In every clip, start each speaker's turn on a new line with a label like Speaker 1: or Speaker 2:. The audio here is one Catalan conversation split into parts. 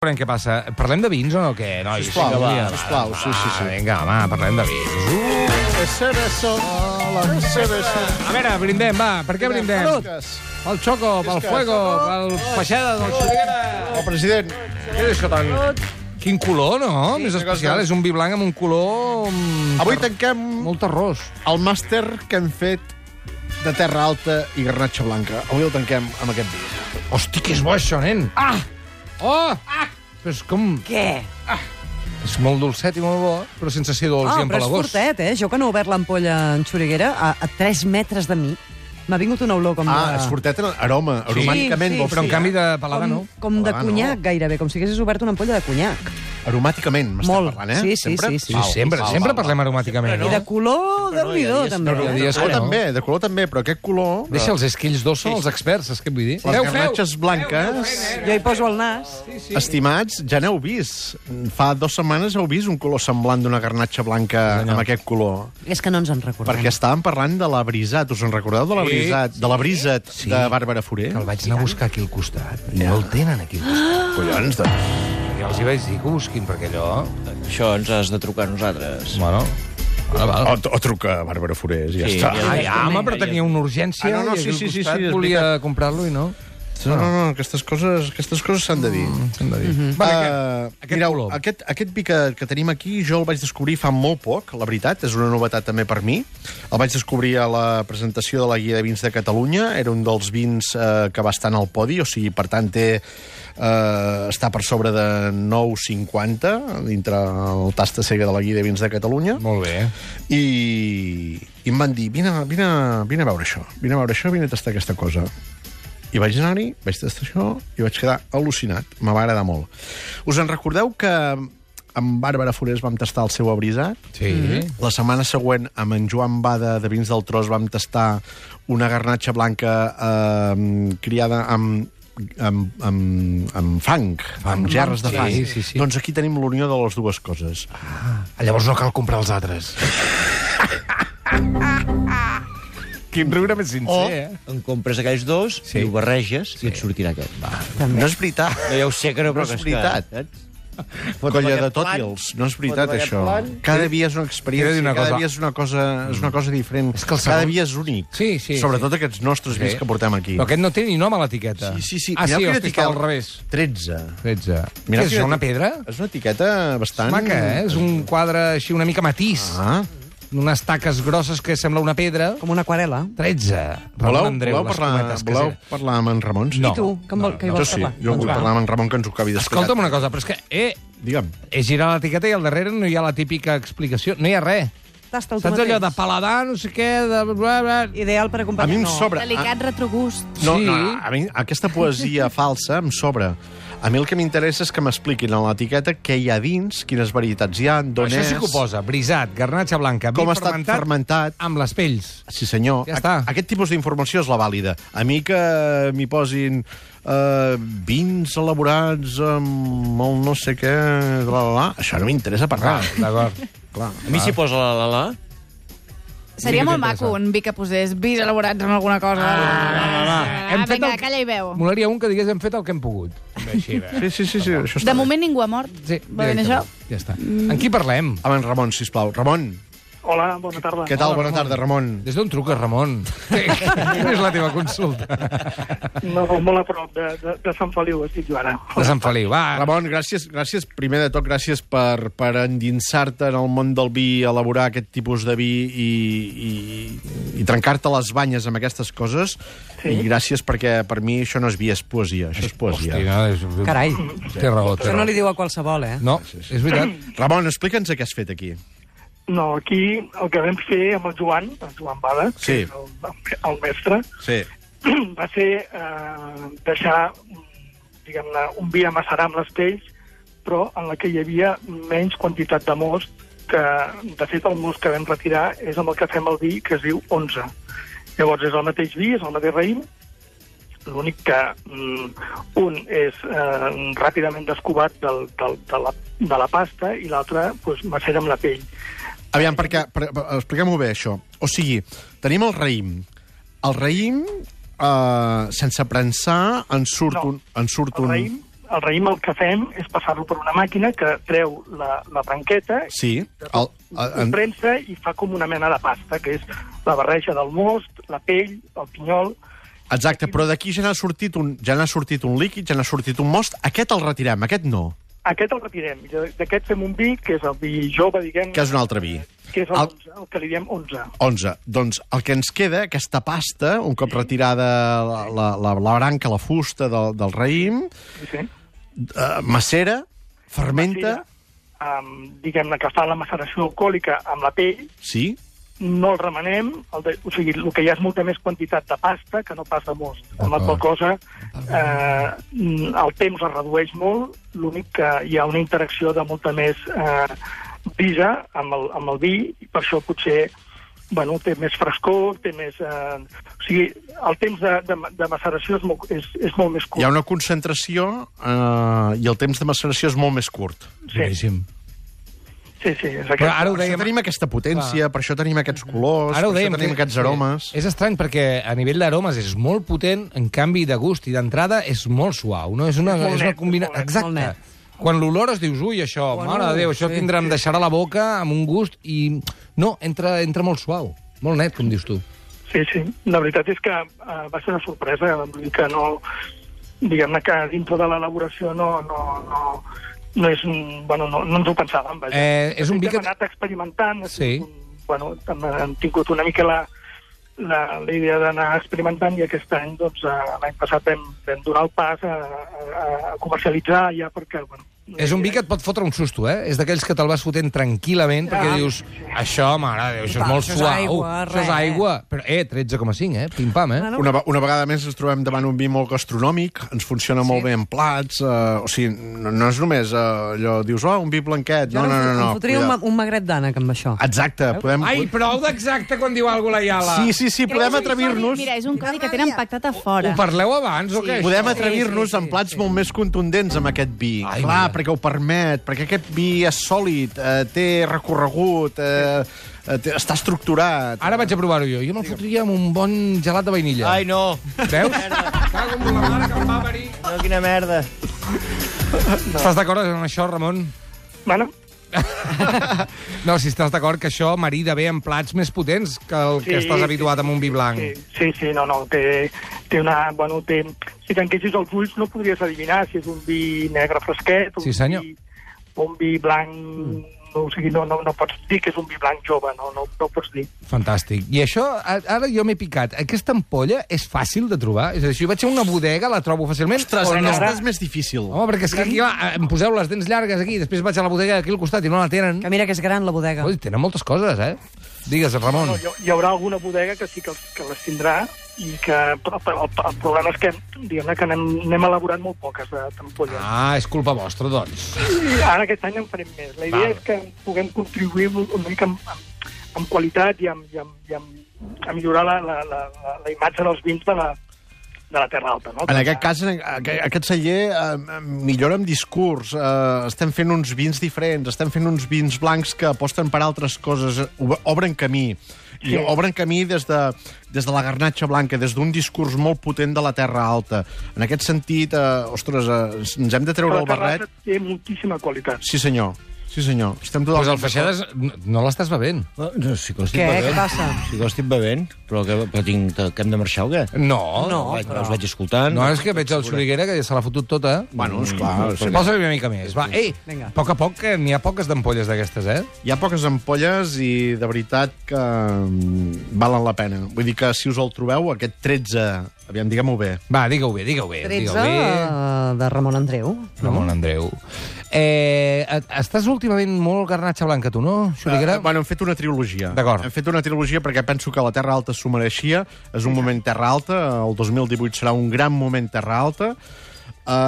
Speaker 1: Veurem què passa. Parlem de vins o no, què, nois?
Speaker 2: Sisplau,
Speaker 1: Vinga,
Speaker 2: va,
Speaker 1: va,
Speaker 2: sisplau, sí, sí, sí.
Speaker 1: Va, vinga, home, parlem de vins.
Speaker 2: Cerezo, la cerezo.
Speaker 1: Uh, a veure, brindem, va, per què brindem? Pel xoco, pel
Speaker 2: Visca,
Speaker 1: fuego,
Speaker 2: Xoco.
Speaker 1: pel peixada del Xuriguera.
Speaker 2: El president,
Speaker 1: Què és això tan... Quin color, no? Més especial, és un vi blanc amb un color... amb
Speaker 2: avui tanquem
Speaker 1: Molt arròs.
Speaker 2: el màster que hem fet de Terra Alta i Garnatxa Blanca. Avui el tanquem amb aquest vi.
Speaker 1: Hosti, que és bo això, nen! Ah! Oh! Ah! Però és com...
Speaker 3: Què?
Speaker 1: És molt dolcet i molt bo, però sense ser dolç i
Speaker 3: Ah, però és
Speaker 1: empalagós.
Speaker 3: fortet, eh? Jo que no he obert l'ampolla en xuriguera, a, a 3 metres de mi, m'ha vingut una olor com
Speaker 2: Ah,
Speaker 3: de...
Speaker 2: és fortet en aroma,
Speaker 1: Sí,
Speaker 2: aromàticament.
Speaker 3: sí,
Speaker 2: vol
Speaker 3: sí.
Speaker 1: Però en
Speaker 2: dir,
Speaker 1: canvi de palada
Speaker 3: com,
Speaker 1: no.
Speaker 3: com de
Speaker 2: Hola, no.
Speaker 3: conyac, gairebé, com si haguessis obert una ampolla de conyac.
Speaker 2: Aromàticament, m'estem
Speaker 3: Molt.
Speaker 2: parlant, eh?
Speaker 3: Sí, sí,
Speaker 2: sempre?
Speaker 3: sí, sí.
Speaker 1: Sí, sempre, sempre parlem aromàticament.
Speaker 3: No. I de color, déu nhi
Speaker 2: ja hi és,
Speaker 3: també.
Speaker 1: no, ja hi
Speaker 3: eh?
Speaker 2: De
Speaker 1: és.
Speaker 2: color
Speaker 1: no.
Speaker 2: també, de color també, però aquest color...
Speaker 1: Deixa els esquills d'os, són els experts, saps què et vull dir?
Speaker 2: Les garnatxes blanques,
Speaker 3: Jo hi poso el nas.
Speaker 2: estimats, ja n'heu vist. Fa dues setmanes heu vist un color semblant d'una garnatxa blanca amb aquest color.
Speaker 3: És que no ens en recordem.
Speaker 2: Perquè estàvem parlant de la brisat, us en recordeu de la brisat? De la brisat
Speaker 1: Sí.
Speaker 2: de Bàrbara Foré?
Speaker 1: Que el vaig anar a buscar aquí al costat. I no el tenen aquí al costat.
Speaker 2: Collons, doncs.
Speaker 1: I els hi vaig dir que busquin, perquè allò...
Speaker 4: Això ens has de trucar a nosaltres.
Speaker 1: Bueno... Ah, val.
Speaker 2: O, o truca a Bàrbara Foré, ja
Speaker 4: Sí,
Speaker 2: està.
Speaker 4: ja-
Speaker 1: Ai, ah, home, però tenia una urgència
Speaker 2: Ah, no, no,
Speaker 1: i aquí
Speaker 2: sí, sí,
Speaker 1: al
Speaker 2: sí,
Speaker 1: costat
Speaker 2: sí, és
Speaker 1: volia comprar-lo i no.
Speaker 2: No, no, no, aquestes coses aquestes coses s'han de dir.
Speaker 1: S'han de dir. Vale,
Speaker 2: Uh,
Speaker 1: aquest
Speaker 2: mireu,
Speaker 1: color.
Speaker 2: aquest, aquest vi que, que tenim aquí jo el vaig descobrir fa molt poc, la veritat, és una novetat també per mi. El vaig descobrir a la presentació de la Guia de Vins de Catalunya, era un dels vins eh, que va estar en el podi, o sigui, per tant, té, eh, està per sobre de 9,50 dintre el tasta cega de la Guia de Vins de Catalunya.
Speaker 1: Molt bé.
Speaker 2: I, i em van dir, vine, vine, vine a veure això, vine a veure això, vine a tastar aquesta cosa. I vaig anar-hi, vaig tastar això, i vaig quedar al·lucinat. Me va agradar molt. Us en recordeu que amb Bàrbara Forés vam tastar el seu abrisat?
Speaker 1: Sí.
Speaker 2: La setmana següent, amb en Joan Bada de Vins del Tros, vam tastar una garnatxa blanca eh, criada amb amb, amb, amb fang, amb gerres de
Speaker 1: Sí,
Speaker 2: fang.
Speaker 1: sí, sí.
Speaker 2: Doncs aquí tenim l'unió de les dues coses.
Speaker 1: Llavors no cal comprar els altres. Quin riure més
Speaker 4: O
Speaker 1: sincer, eh?
Speaker 4: en compres aquells dos, sí. i ho barreges, sí. i et sortirà aquest. Va.
Speaker 2: No és veritat.
Speaker 4: No, ja ho sé que no,
Speaker 2: No
Speaker 4: però
Speaker 2: és
Speaker 4: que és
Speaker 2: veritat.
Speaker 4: Que, saps?
Speaker 2: Colla de
Speaker 4: aquest
Speaker 2: tot
Speaker 4: plan,
Speaker 2: els. No és veritat,
Speaker 4: fotem aquest
Speaker 2: això.
Speaker 4: plan.
Speaker 2: Cada dia és una
Speaker 1: T'he de dir
Speaker 2: experiència,
Speaker 1: una
Speaker 2: una cada
Speaker 1: cosa.
Speaker 2: dia és una cosa, és una cosa diferent.
Speaker 1: És que el
Speaker 2: Cada
Speaker 1: segon-
Speaker 2: dia és únic.
Speaker 1: Sí, sí,
Speaker 2: Sobretot aquests nostres
Speaker 1: Sí.
Speaker 2: vins que portem aquí.
Speaker 1: Però aquest no té ni nom a l'etiqueta.
Speaker 2: Sí, sí, sí.
Speaker 1: Ah, sí,
Speaker 2: quina
Speaker 1: hosti, està
Speaker 2: etiqueta.
Speaker 1: al revés.
Speaker 2: 13.
Speaker 1: 13.
Speaker 2: Mireu
Speaker 1: Mira, és
Speaker 2: quina
Speaker 1: una
Speaker 2: eti-
Speaker 1: pedra?
Speaker 2: És una etiqueta bastant...
Speaker 1: Maca, eh? És un quadre així una mica matís.
Speaker 2: Ah.
Speaker 1: unes taques grosses que sembla una pedra.
Speaker 3: Com una aquarela.
Speaker 1: 13. Ramon
Speaker 2: Voleu,
Speaker 1: Andreu,
Speaker 2: voleu,
Speaker 1: les
Speaker 2: parlar,
Speaker 1: cubetes que
Speaker 2: voleu
Speaker 1: sé.
Speaker 2: parlar amb en Ramon?
Speaker 1: No. Doncs
Speaker 3: I tu, que, vol, que hi
Speaker 2: Jo
Speaker 3: vols
Speaker 2: sí,
Speaker 3: parlar?
Speaker 2: jo vull
Speaker 3: va.
Speaker 2: parlar amb en Ramon que ens ho acabi d'explicar.
Speaker 1: Escolta'm una cosa, però és que eh,
Speaker 2: Digue'm.
Speaker 1: és girar l'etiqueta i al darrere no hi ha la típica explicació. No hi ha res.
Speaker 3: Tasta'l tu
Speaker 1: Saps allò
Speaker 3: mateix.
Speaker 1: de paladar, no sé què, de... Bla, bla.
Speaker 3: Ideal per
Speaker 2: A
Speaker 3: acompanyar...
Speaker 2: mi em
Speaker 3: no.
Speaker 2: sobra... Ah. a-
Speaker 5: Delicat retrogust.
Speaker 2: No,
Speaker 1: Sí.
Speaker 2: no, a mi aquesta poesia falsa em sobra. A mi el que m'interessa és que m'expliquin en l'etiqueta què hi ha dins, quines varietats hi ha, d'on
Speaker 1: Això
Speaker 2: és...
Speaker 1: sí que ho posa. Brisat, garnatxa blanca,
Speaker 2: Com
Speaker 1: vi
Speaker 2: ha estat fermentat.
Speaker 1: Amb les pells.
Speaker 2: Sí, senyor.
Speaker 1: Ja està.
Speaker 2: Aquest tipus d'informació és la vàlida. A mi que m'hi posin eh, vins elaborats amb el no sé què... Bla, bla, bla. Això no m'interessa per
Speaker 1: Ah,
Speaker 2: res.
Speaker 1: d'acord.
Speaker 2: Clar.
Speaker 4: A mi s'hi posa la la la.
Speaker 1: Sí
Speaker 5: Seria
Speaker 1: que
Speaker 5: molt
Speaker 1: t'interessa.
Speaker 5: maco un vi que posés vis elaborats amb alguna cosa. Ah,
Speaker 1: Hem fet
Speaker 5: vinga,
Speaker 1: el-
Speaker 5: calla i veu.
Speaker 1: Molaria un que digués hem fet el que hem pogut. Bé, Així, bé.
Speaker 2: Sí, sí, sí, sí, això està
Speaker 5: De
Speaker 2: bé.
Speaker 5: moment ningú ha mort.
Speaker 1: Sí,
Speaker 5: Va bé, això?
Speaker 1: directament. Ja està.
Speaker 3: Mm.
Speaker 1: En qui parlem?
Speaker 2: Amb en Ramon, sisplau. Ramon,
Speaker 6: Hola, bona tarda.
Speaker 2: què tal?
Speaker 1: Hola,
Speaker 2: Bona
Speaker 1: Ramon.
Speaker 2: tarda, Ramon.
Speaker 1: Des d'on truques, Ramon? Quina és la teva consulta?
Speaker 6: No, molt a prop de, de, de Sant Feliu, estic jo ara.
Speaker 1: De Sant Feliu, va.
Speaker 2: Ramon, gràcies, gràcies primer de tot, gràcies per, per endinsar-te en el món del vi, elaborar aquest tipus de vi i, i, i trencar-te les banyes amb aquesttes coses. Sí. I gràcies perquè per mi això no és vi, és poesia. Això és poesia.
Speaker 1: Hosti, no, és...
Speaker 3: Carai.
Speaker 1: Té raó, té
Speaker 3: Això no
Speaker 1: raó.
Speaker 3: li diu a qualsevol, eh?
Speaker 1: No, és veritat.
Speaker 2: Ramon, explica'ns què has fet aquí.
Speaker 6: No, aquí el que vam fer amb el Joan, el Joan Bada,
Speaker 2: Sí.
Speaker 6: que és el, el mestre,
Speaker 2: Sí.
Speaker 6: va ser eh, deixar diguem-ne, un vi a macerar amb les pells, però en la que hi havia menys quantitat de most, que de fet el most que vam retirar és amb el que fem el vi, que es diu 11. Llavors és el mateix vi, és el mateix raïm, l'únic que mm, un és eh, ràpidament descubat del, del, de, la, de la pasta i l'altre pues, macera amb la pell.
Speaker 2: Aviam, perquè, per, per, expliquem-ho bé, això. O sigui, tenim el raïm. El raïm, eh, sense prensar, en surt
Speaker 6: No.
Speaker 2: un... En surt
Speaker 6: El
Speaker 2: un...
Speaker 6: raïm el raïm el que fem és passar-lo per una màquina que treu la, la branqueta,
Speaker 2: Sí. El, eh, el,
Speaker 6: ho
Speaker 2: el,
Speaker 6: premsa i fa com una mena de pasta, que és la barreja del most, la pell, el pinyol...
Speaker 2: exacte, però d'aquí ja n'ha sortit, un, ja n'ha sortit un líquid, ja n'ha sortit un most. Aquest el retirem, aquest no,
Speaker 6: Aquest el retirem. i D'aquest fem un vi, que és el vi jove, diguem...
Speaker 2: que és un altre vi.
Speaker 6: que és el,
Speaker 2: El-
Speaker 6: 11, el que li diem 11.
Speaker 2: 11. Doncs el que ens queda, aquesta pasta, un cop retirada la, la, la, la branca, la fusta del, del raïm,
Speaker 6: Sí?
Speaker 2: eh, macera, fermenta,
Speaker 6: Um, diguem-ne que fa la maceració alcohòlica amb la pell,
Speaker 2: sí,
Speaker 6: no el remenem, el de, o sigui, el que hi ha és molta més quantitat de pasta que no pas de most. Amb la qual cosa, eh, el temps es redueix molt, l'únic que hi ha una interacció de molta més eh, brisa amb el, amb el vi, i per això potser bueno, té més frescor, té més... Eh, o sigui, el temps de, de, de maceració és molt, és, és molt més
Speaker 2: hi ha
Speaker 6: curt.
Speaker 2: una concentració eh, i el temps de maceració és molt més curt.
Speaker 6: Sí,
Speaker 1: Boníssim.
Speaker 6: sí, sí, és
Speaker 1: Però ara ho
Speaker 2: Per això
Speaker 1: dèiem...
Speaker 2: tenim aquesta potència, per això tenim aquests colors,
Speaker 1: Ara ho
Speaker 2: per
Speaker 1: dèiem,
Speaker 2: això tenim
Speaker 1: que-
Speaker 2: aquests aromes.
Speaker 1: que És estrany perquè a nivell d'aromes és molt potent, en canvi de gust i d'entrada és molt suau, no? És una,
Speaker 6: És molt
Speaker 1: és una
Speaker 6: net,
Speaker 1: combina...
Speaker 6: és molt net.
Speaker 1: Exacte.
Speaker 3: Molt net.
Speaker 1: Quan l'olores dius, ui, això,
Speaker 3: Bueno,
Speaker 1: mare de Déu, això
Speaker 3: sí.
Speaker 1: tindrà, em deixarà la boca amb un gust i... No, entra, entra molt suau, molt net, com dius tu.
Speaker 6: Sí, sí. La veritat és que eh, va ser una sorpresa, vull dir que no... Diguem-ne que dintre de l'elaboració no, no, no, no és un... Bueno, no, no ens ho pensàvem, vaja.
Speaker 1: Eh, és un vi
Speaker 6: Hem
Speaker 1: que...
Speaker 6: anat experimentant. ha
Speaker 1: Sí.
Speaker 6: sigut Un, bueno, hem, hem tingut una mica la, la, la idea d'anar experimentant i aquest any, doncs, eh, l'any passat vam, vam donar el pas a, a, a comercialitzar ja perquè... Bueno,
Speaker 1: És un vi que et pot fotre un susto, eh? És d'aquells que te'l vas fotent tranquil·lament perquè dius, això, mare de Déu, això
Speaker 3: Va,
Speaker 1: és molt
Speaker 3: Ah. això és
Speaker 1: suau.
Speaker 3: aigua,
Speaker 1: això és
Speaker 3: res.
Speaker 1: aigua. Però, eh, 13,5, eh? Pim-pam, eh?
Speaker 3: Bueno,
Speaker 2: Una, ve- una vegada més ens trobem davant un vi molt gastronòmic, ens funciona molt bé en plats, eh, o sigui, no, no és només eh, allò, dius, oh, un vi blanquet,
Speaker 3: Jo
Speaker 2: no,
Speaker 3: ara
Speaker 2: no,
Speaker 3: em-
Speaker 2: no, no,
Speaker 3: Em fotria un, ma-
Speaker 2: cuidao.
Speaker 3: un magret d'ànec amb això.
Speaker 2: Exacte, podem...
Speaker 1: Ai, prou d'exacte quan diu alguna cosa la Iala.
Speaker 2: Sí, sí, sí, podem atrevir-nos...
Speaker 5: Mira, és un codi que tenen pactat a fora.
Speaker 1: Ho parleu abans o què?
Speaker 2: Podem
Speaker 1: això?
Speaker 2: atrevir-nos en plats molt més contundents amb aquest vi.
Speaker 1: Ai,
Speaker 2: Clar,
Speaker 1: mira.
Speaker 2: perquè ho permet, perquè aquest vi és sòlid, eh, té recorregut, eh, eh, té- està estructurat.
Speaker 1: Ara vaig a provar-ho jo. Jo me'l fotria amb un bon gelat de vainilla.
Speaker 4: Ai, no.
Speaker 1: Veus? Cago en la mare que em va venir.
Speaker 4: No, quina merda.
Speaker 1: Estàs d'acord amb això, Ramon?
Speaker 6: Bueno,
Speaker 1: No, si estàs d'acord que això marida bé en plats més potents que el que
Speaker 6: Sí,
Speaker 1: estàs
Speaker 6: sí,
Speaker 1: habituat amb un vi blanc.
Speaker 6: Sí, sí, sí, no, no, té, té una... Bueno, té, si tanquessis els ulls no podries adivinar si és un vi negre fresquet un
Speaker 1: Sí, senyor.
Speaker 6: vi, o un vi blanc... Mm. No, o sigui, no, no, no pots dir que és un vi blanc jove, no, no, no ho pots dir.
Speaker 1: Fantàstic. I això, a- ara jo m'he picat. Aquesta ampolla és fàcil de trobar? És a dir, si jo vaig a una bodega, la trobo fàcilment?
Speaker 2: Ostres,
Speaker 1: o no?
Speaker 2: aquesta és més difícil.
Speaker 1: Home, perquè és que aquí va, em poseu les dents llargues aquí, després vaig a la bodega d'aquí al costat i no la tenen.
Speaker 3: Que mira que és gran, la bodega.
Speaker 1: Ui, tenen moltes coses, eh? Digues, Ramon.
Speaker 6: No, hi, hi haurà alguna bodega que sí que, els- que les tindrà i que però, però, el, el problema és que, diguem-ne, que n'hem n'hem elaborat molt poques de tampolles.
Speaker 1: Ah, és culpa vostra, doncs.
Speaker 6: Ara aquest any en farem més. La idea
Speaker 1: Val.
Speaker 6: Val. és que puguem contribuir una mica amb, amb, amb qualitat i, amb, i, amb, i amb, a millorar la, la, la, la, la imatge dels vins de la, de la Terra Alta. No?
Speaker 2: En aquest cas, en aqu- aquest celler eh, millora amb discurs. Eh, estem fent uns vins diferents, estem fent uns vins blancs que aposten per altres coses, ob- obren camí. I
Speaker 6: Sí.
Speaker 2: obren camí des de, des de la garnatxa blanca, des d'un discurs molt potent de la Terra Alta. En aquest sentit, eh, ostres, eh, ens hem de
Speaker 6: Però
Speaker 2: treure
Speaker 6: la
Speaker 2: el
Speaker 6: Terra
Speaker 2: barret.
Speaker 6: Alta té moltíssima qualitat.
Speaker 2: Sí, senyor. Sí, senyor. Estem
Speaker 1: Doncs
Speaker 2: totalment...
Speaker 1: el Feixedes no- no l'estàs bevent.
Speaker 4: No, no, sí que l'estic
Speaker 3: Què?
Speaker 4: bevent.
Speaker 3: Què passa?
Speaker 4: Sí que l'estic bevent, però que, però tinc, que hem de marxar o què?
Speaker 1: No.
Speaker 3: No,
Speaker 4: vaig,
Speaker 3: però-
Speaker 4: Us vaig escoltant.
Speaker 1: No, és que veig el Xuriguera, que ja se l'ha fotut tota.
Speaker 2: Bueno, esclar, sí.
Speaker 1: Posa-li una mica més, va. Ei,
Speaker 3: Vinga.
Speaker 1: a poc a poc, que n'hi ha poques d'ampolles d'aquestes, eh?
Speaker 2: Hi ha poques ampolles i de veritat que mm, valen la pena. Vull dir que si us el trobeu, aquest 13, aviam, diguem-ho bé,
Speaker 1: Va, digue-ho bé, digue-ho bé.
Speaker 3: 13
Speaker 1: Digue-ho bé.
Speaker 3: eh, de Ramon Andreu.
Speaker 1: Ramon Andreu. Eh, et- estàs últimament molt garnatxa blanca, tu, no, Xuriguera?
Speaker 2: Eh, bueno, hem fet una trilogia.
Speaker 1: D'acord.
Speaker 2: Hem fet una trilogia perquè penso que la Terra Alta s'ho mereixia. És un moment Terra Alta. El 2018 serà un gran moment Terra Alta.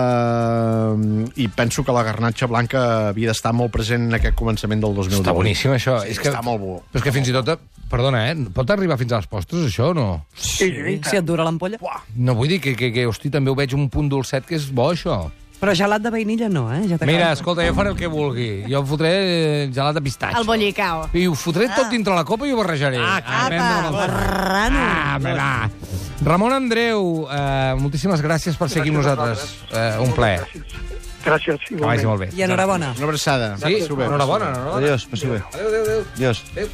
Speaker 2: Uh, I penso que la garnatxa blanca havia d'estar molt present en aquest començament del 2018.
Speaker 1: Està boníssim, això.
Speaker 2: Sí,
Speaker 1: és que,
Speaker 2: està molt bo.
Speaker 1: Però és que fins i tot... Perdona, eh? Pot arribar fins a les postres, això, o no?
Speaker 6: Sí, sí,
Speaker 3: Si et dura l'ampolla.
Speaker 1: No vull dir que, que, que, hosti, també ho veig un punt dolcet que és bo, això.
Speaker 3: Però gelat de vainilla no, eh? Ja t'acabo.
Speaker 1: Mira, escolta, jo faré el que vulgui. Jo em fotré eh, gelat de pistatxo.
Speaker 5: El bollicao.
Speaker 1: I ho fotré
Speaker 3: Ah.
Speaker 1: tot dintre la copa i ho barrejaré. Ah,
Speaker 3: Rano.
Speaker 1: Ah, bé, va. Ramon Andreu, eh, moltíssimes gràcies per ser aquí amb nosaltres. Eh, un plaer.
Speaker 6: Gràcies. Gràcies,
Speaker 1: Que
Speaker 6: igualment.
Speaker 1: vagi molt bé.
Speaker 3: I enhorabona.
Speaker 2: Una abraçada.
Speaker 1: Sí,
Speaker 2: Passeu bé.
Speaker 1: enhorabona, enhorabona.
Speaker 4: Adiós, passeu bé.
Speaker 1: Adéu, adéu, adéu.
Speaker 4: Adiós.
Speaker 1: Adéu.
Speaker 4: bé.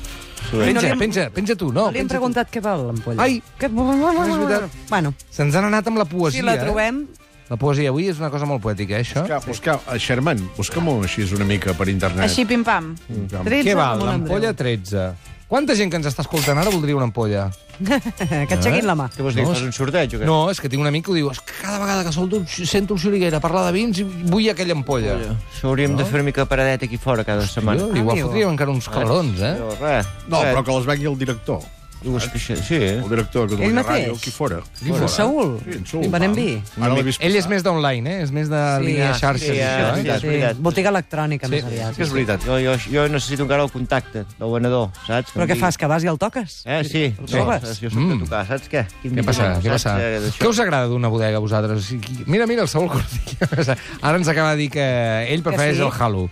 Speaker 1: Penja, penja, penja tu, no.
Speaker 3: Li
Speaker 1: penja
Speaker 3: hem
Speaker 1: tu.
Speaker 3: preguntat què val l'ampolla.
Speaker 1: Ai,
Speaker 3: que...
Speaker 1: és veritat.
Speaker 3: Bueno,
Speaker 1: Se'ns han anat amb la poesia.
Speaker 3: si la
Speaker 1: eh?
Speaker 3: trobem...
Speaker 1: La poesia avui és una cosa molt poètica, eh, això.
Speaker 2: Busca, busca, eh, Sherman, busca-m'ho així una mica per internet.
Speaker 5: Així, pim-pam.
Speaker 2: Així.
Speaker 3: 13
Speaker 1: Què val?
Speaker 3: com un
Speaker 1: L'ampolla 13. Quanta gent que ens està escoltant ara voldria una ampolla?
Speaker 3: Andreu. que et aixequin la mà.
Speaker 4: Què vols dir?
Speaker 1: No,
Speaker 4: Fas un sorteig o què?
Speaker 1: No, és que tinc un amic que ho diu, és que cada vegada que solto, un- sento un xuriguera parlar de vins i vull aquella ampolla.
Speaker 4: Això hauríem de fer una mica paradet aquí fora cada setmana.
Speaker 1: Jo, igual
Speaker 3: Amigo.
Speaker 1: fotríem encara uns calarons, eh?
Speaker 4: No, res.
Speaker 2: No,
Speaker 4: res.
Speaker 2: però que les vengui el director.
Speaker 4: Dues queixes, sí.
Speaker 2: El director de Catalunya
Speaker 3: mateix?
Speaker 2: Ràdio, qui fora. Qui
Speaker 3: En
Speaker 2: fora.
Speaker 3: Saül.
Speaker 2: Sí, en Saül.
Speaker 3: I Benem
Speaker 2: va.
Speaker 3: vi.
Speaker 2: Ara l'he vist
Speaker 1: Ell és
Speaker 2: passar.
Speaker 1: més d'online, eh? És més de
Speaker 3: Sí,
Speaker 1: línia
Speaker 3: ah,
Speaker 1: de xarxes.
Speaker 4: sí,
Speaker 1: i
Speaker 4: ah,
Speaker 1: això,
Speaker 4: sí,
Speaker 1: eh?
Speaker 4: És veritat.
Speaker 3: Botiga electrònica, més aviat.
Speaker 2: És que és veritat.
Speaker 4: Jo, jo, jo necessito encara el contacte del venedor, saps?
Speaker 3: Però
Speaker 4: em
Speaker 3: què
Speaker 4: digui.
Speaker 3: fas, que vas i el toques?
Speaker 4: Eh, sí.
Speaker 3: El
Speaker 4: sí.
Speaker 3: trobes?
Speaker 4: Jo soc de
Speaker 1: Mm.
Speaker 4: tocar, saps què? Quin
Speaker 1: Què
Speaker 4: dia,
Speaker 1: passa? Què
Speaker 4: saps?
Speaker 1: passa?
Speaker 4: Eh, d'això.
Speaker 1: Què us agrada d'una bodega, a vosaltres? Mira, mira, el Saúl Cortilla. Ara ens acaba de dir que ell prefereix
Speaker 3: sí.
Speaker 1: el halo.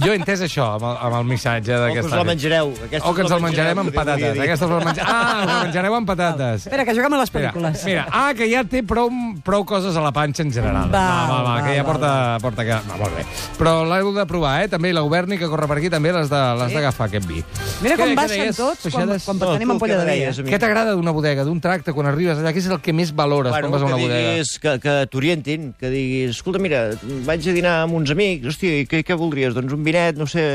Speaker 1: Jo he entès això amb el, amb el missatge
Speaker 4: O que us
Speaker 1: d'aquesta...
Speaker 4: la menjareu.
Speaker 1: O que ens el menjarem amb patates. eh? Aquesta us la menja... Ah, us la menjareu amb patates.
Speaker 3: Espera, que juguem a les
Speaker 1: Mira,
Speaker 3: pel·lícules.
Speaker 1: mira, ah, que ja té prou, prou coses a la panxa en general.
Speaker 3: Va,
Speaker 1: va, va,
Speaker 3: va,
Speaker 1: que ja
Speaker 3: va,
Speaker 1: porta... porta que... va, molt bé. Però l'heu de provar, eh? També la Governi, que corre per aquí, també l'has de- l'has d'agafar, aquest vi. Què-
Speaker 3: Mira com
Speaker 1: què
Speaker 3: baixen
Speaker 1: deies,
Speaker 3: tots quan,
Speaker 1: Peixades?
Speaker 3: quan tenim ampolla de dia.
Speaker 1: Què t'agrada d'una bodega, d'un tracte, quan arribes allà? Què és el que més valores
Speaker 4: Bueno,
Speaker 1: quan vas a
Speaker 4: que
Speaker 1: una bodega?
Speaker 4: diguis, que, que t'orientin, que diguis, escolta, mira, vaig a dinar amb uns amics, hòstia, i què, què voldries? Doncs un vinet, no sé,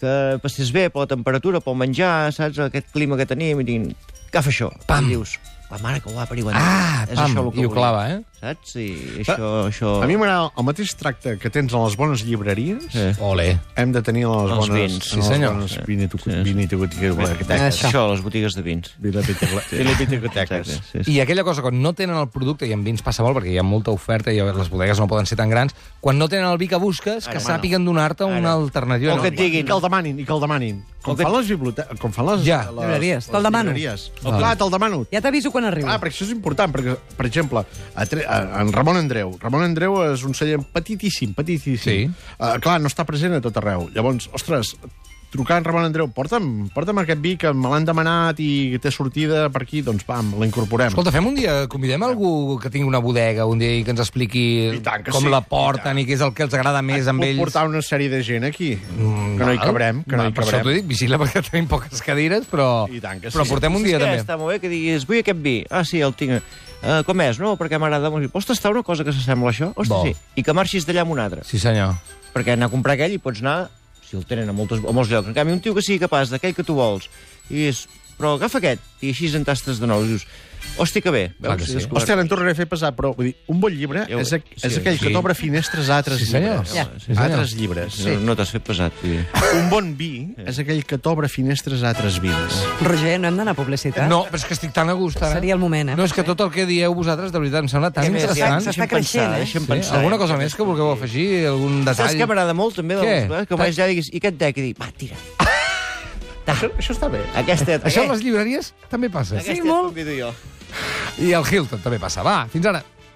Speaker 4: que passés bé per la temperatura, pel menjar, saps, aquest clima que tenim, i diguin, agafa això.
Speaker 1: Pam.
Speaker 4: I dius, la mare que ho ha averiguat.
Speaker 1: Ah,
Speaker 4: És
Speaker 1: pam,
Speaker 4: això el que
Speaker 1: i ho
Speaker 4: volia.
Speaker 1: clava, eh?
Speaker 4: Saps? I això... això...
Speaker 2: A mi m'agrada el mateix tracte que tens a les bones llibreries,
Speaker 4: Eh.
Speaker 1: Ole.
Speaker 2: hem de tenir a les
Speaker 4: Els
Speaker 2: bones...
Speaker 4: vins,
Speaker 2: en
Speaker 1: sí,
Speaker 2: les
Speaker 1: senyor.
Speaker 2: bones
Speaker 4: Sí.
Speaker 2: vinituc-
Speaker 4: Sí.
Speaker 2: viniticoteques.
Speaker 3: Això.
Speaker 4: Això, les botigues de vins.
Speaker 2: Viniticoteques.
Speaker 4: Exacte, sí, sí.
Speaker 1: I aquella cosa, quan no tenen el producte, i en vins passa molt, perquè hi ha molta oferta i les bodegues no poden ser tan grans, quan no tenen el vi que busques, que
Speaker 4: Ara,
Speaker 1: sàpiguen donar-te una
Speaker 4: Ara.
Speaker 1: alternativa.
Speaker 4: O
Speaker 1: No,
Speaker 4: que et
Speaker 2: I
Speaker 4: diguin...
Speaker 2: que el demanin, i que el demanin. Com
Speaker 4: O que-
Speaker 2: fan les biblioteques... Com fan les...
Speaker 1: Ja.
Speaker 2: les-
Speaker 3: Llibreries, te'l
Speaker 2: les
Speaker 3: demano.
Speaker 2: llibreries. Clar, te'l demano.
Speaker 3: Ja t'aviso quan arribo.
Speaker 2: Ah, perquè això és important, perquè, per exemple, a, tre- a, en Ramon Andreu. Ramon Andreu és un celler petitíssim, petitíssim.
Speaker 1: Sí.
Speaker 2: Uh, clar, no està present a tot arreu. Llavors, ostres, trucar en Ramon Andreu, porta'm, porta'm aquest vi que me l'han demanat i té sortida per aquí, doncs pam, l'incorporem.
Speaker 1: Escolta, fem un dia, convidem algú que tingui una bodega un dia i que ens expliqui
Speaker 2: I tant que
Speaker 1: com
Speaker 2: sí,
Speaker 1: la
Speaker 2: i
Speaker 1: porten
Speaker 2: tant.
Speaker 1: i què és el que els agrada més
Speaker 2: Et
Speaker 1: amb
Speaker 2: puc
Speaker 1: ells.
Speaker 2: portar una sèrie de gent aquí, mm, que no hi
Speaker 1: Val?
Speaker 2: cabrem, que no
Speaker 1: Val,
Speaker 2: hi
Speaker 1: Per això t'ho
Speaker 2: cabrem.
Speaker 1: dic, vigila perquè tenim poques cadires, però,
Speaker 2: I tant que sí.
Speaker 1: però portem un dia
Speaker 4: Saps què?
Speaker 1: també.
Speaker 4: Està molt bé que diguis, vull aquest vi. Ah, sí, el tinc. Uh, com és, no? Perquè m'agrada molt. Ostres, està una cosa que s'assembla a això? Ostres,
Speaker 1: Bo.
Speaker 4: sí. I que marxis d'allà amb un altre.
Speaker 1: Sí, senyor.
Speaker 4: Perquè anar a comprar aquell i pots anar, si el tenen a, moltes, a molts llocs. En canvi, un tio que sigui capaç d'aquell que tu vols, i és, però agafa aquest, i així en tastes de nou. I dius, hòstia, que bé.
Speaker 1: Clar que sí.
Speaker 4: És
Speaker 2: Hòstia, ara em tornaré a fer pesar, però vull dir, un bon llibre
Speaker 4: Ja ho
Speaker 2: és,
Speaker 4: veig.
Speaker 2: aqu és
Speaker 4: Sí,
Speaker 2: aquell que
Speaker 1: sí.
Speaker 2: t'obre finestres a altres
Speaker 1: Sí, senyor.
Speaker 2: llibres.
Speaker 1: Ja. Sí,
Speaker 2: A
Speaker 1: senyor.
Speaker 2: altres llibres.
Speaker 4: No, no t'has fet pesat, vull dir.
Speaker 2: Un bon vi és aquell que t'obre finestres a altres vins.
Speaker 3: Roger, no hem d'anar a publicitat?
Speaker 1: No, però és que estic tan a gust ara.
Speaker 3: Seria el moment, eh?
Speaker 1: No, és que tot el que dieu vosaltres, de veritat, em sembla tan
Speaker 4: Què més?
Speaker 1: interessant.
Speaker 3: s'està
Speaker 4: Deixa'm pensar,
Speaker 3: creixent, eh?
Speaker 4: Deixa'm
Speaker 1: Sí,
Speaker 4: pensar.
Speaker 1: alguna cosa més que vulgueu afegir? Algun
Speaker 4: Saps
Speaker 1: detall?
Speaker 4: que m'agrada molt, també, de
Speaker 1: Què?
Speaker 4: les coses, que vaig allà i diguis, i aquest dec, i dic, va, tira.
Speaker 2: Això, això està bé.
Speaker 4: Aquesta,
Speaker 1: Això a
Speaker 4: aquest,
Speaker 1: les llibreries també passa.
Speaker 4: Eh? aquesta
Speaker 3: molt.
Speaker 4: convido jo.
Speaker 1: I al Hilton també passa. Va, fins ara.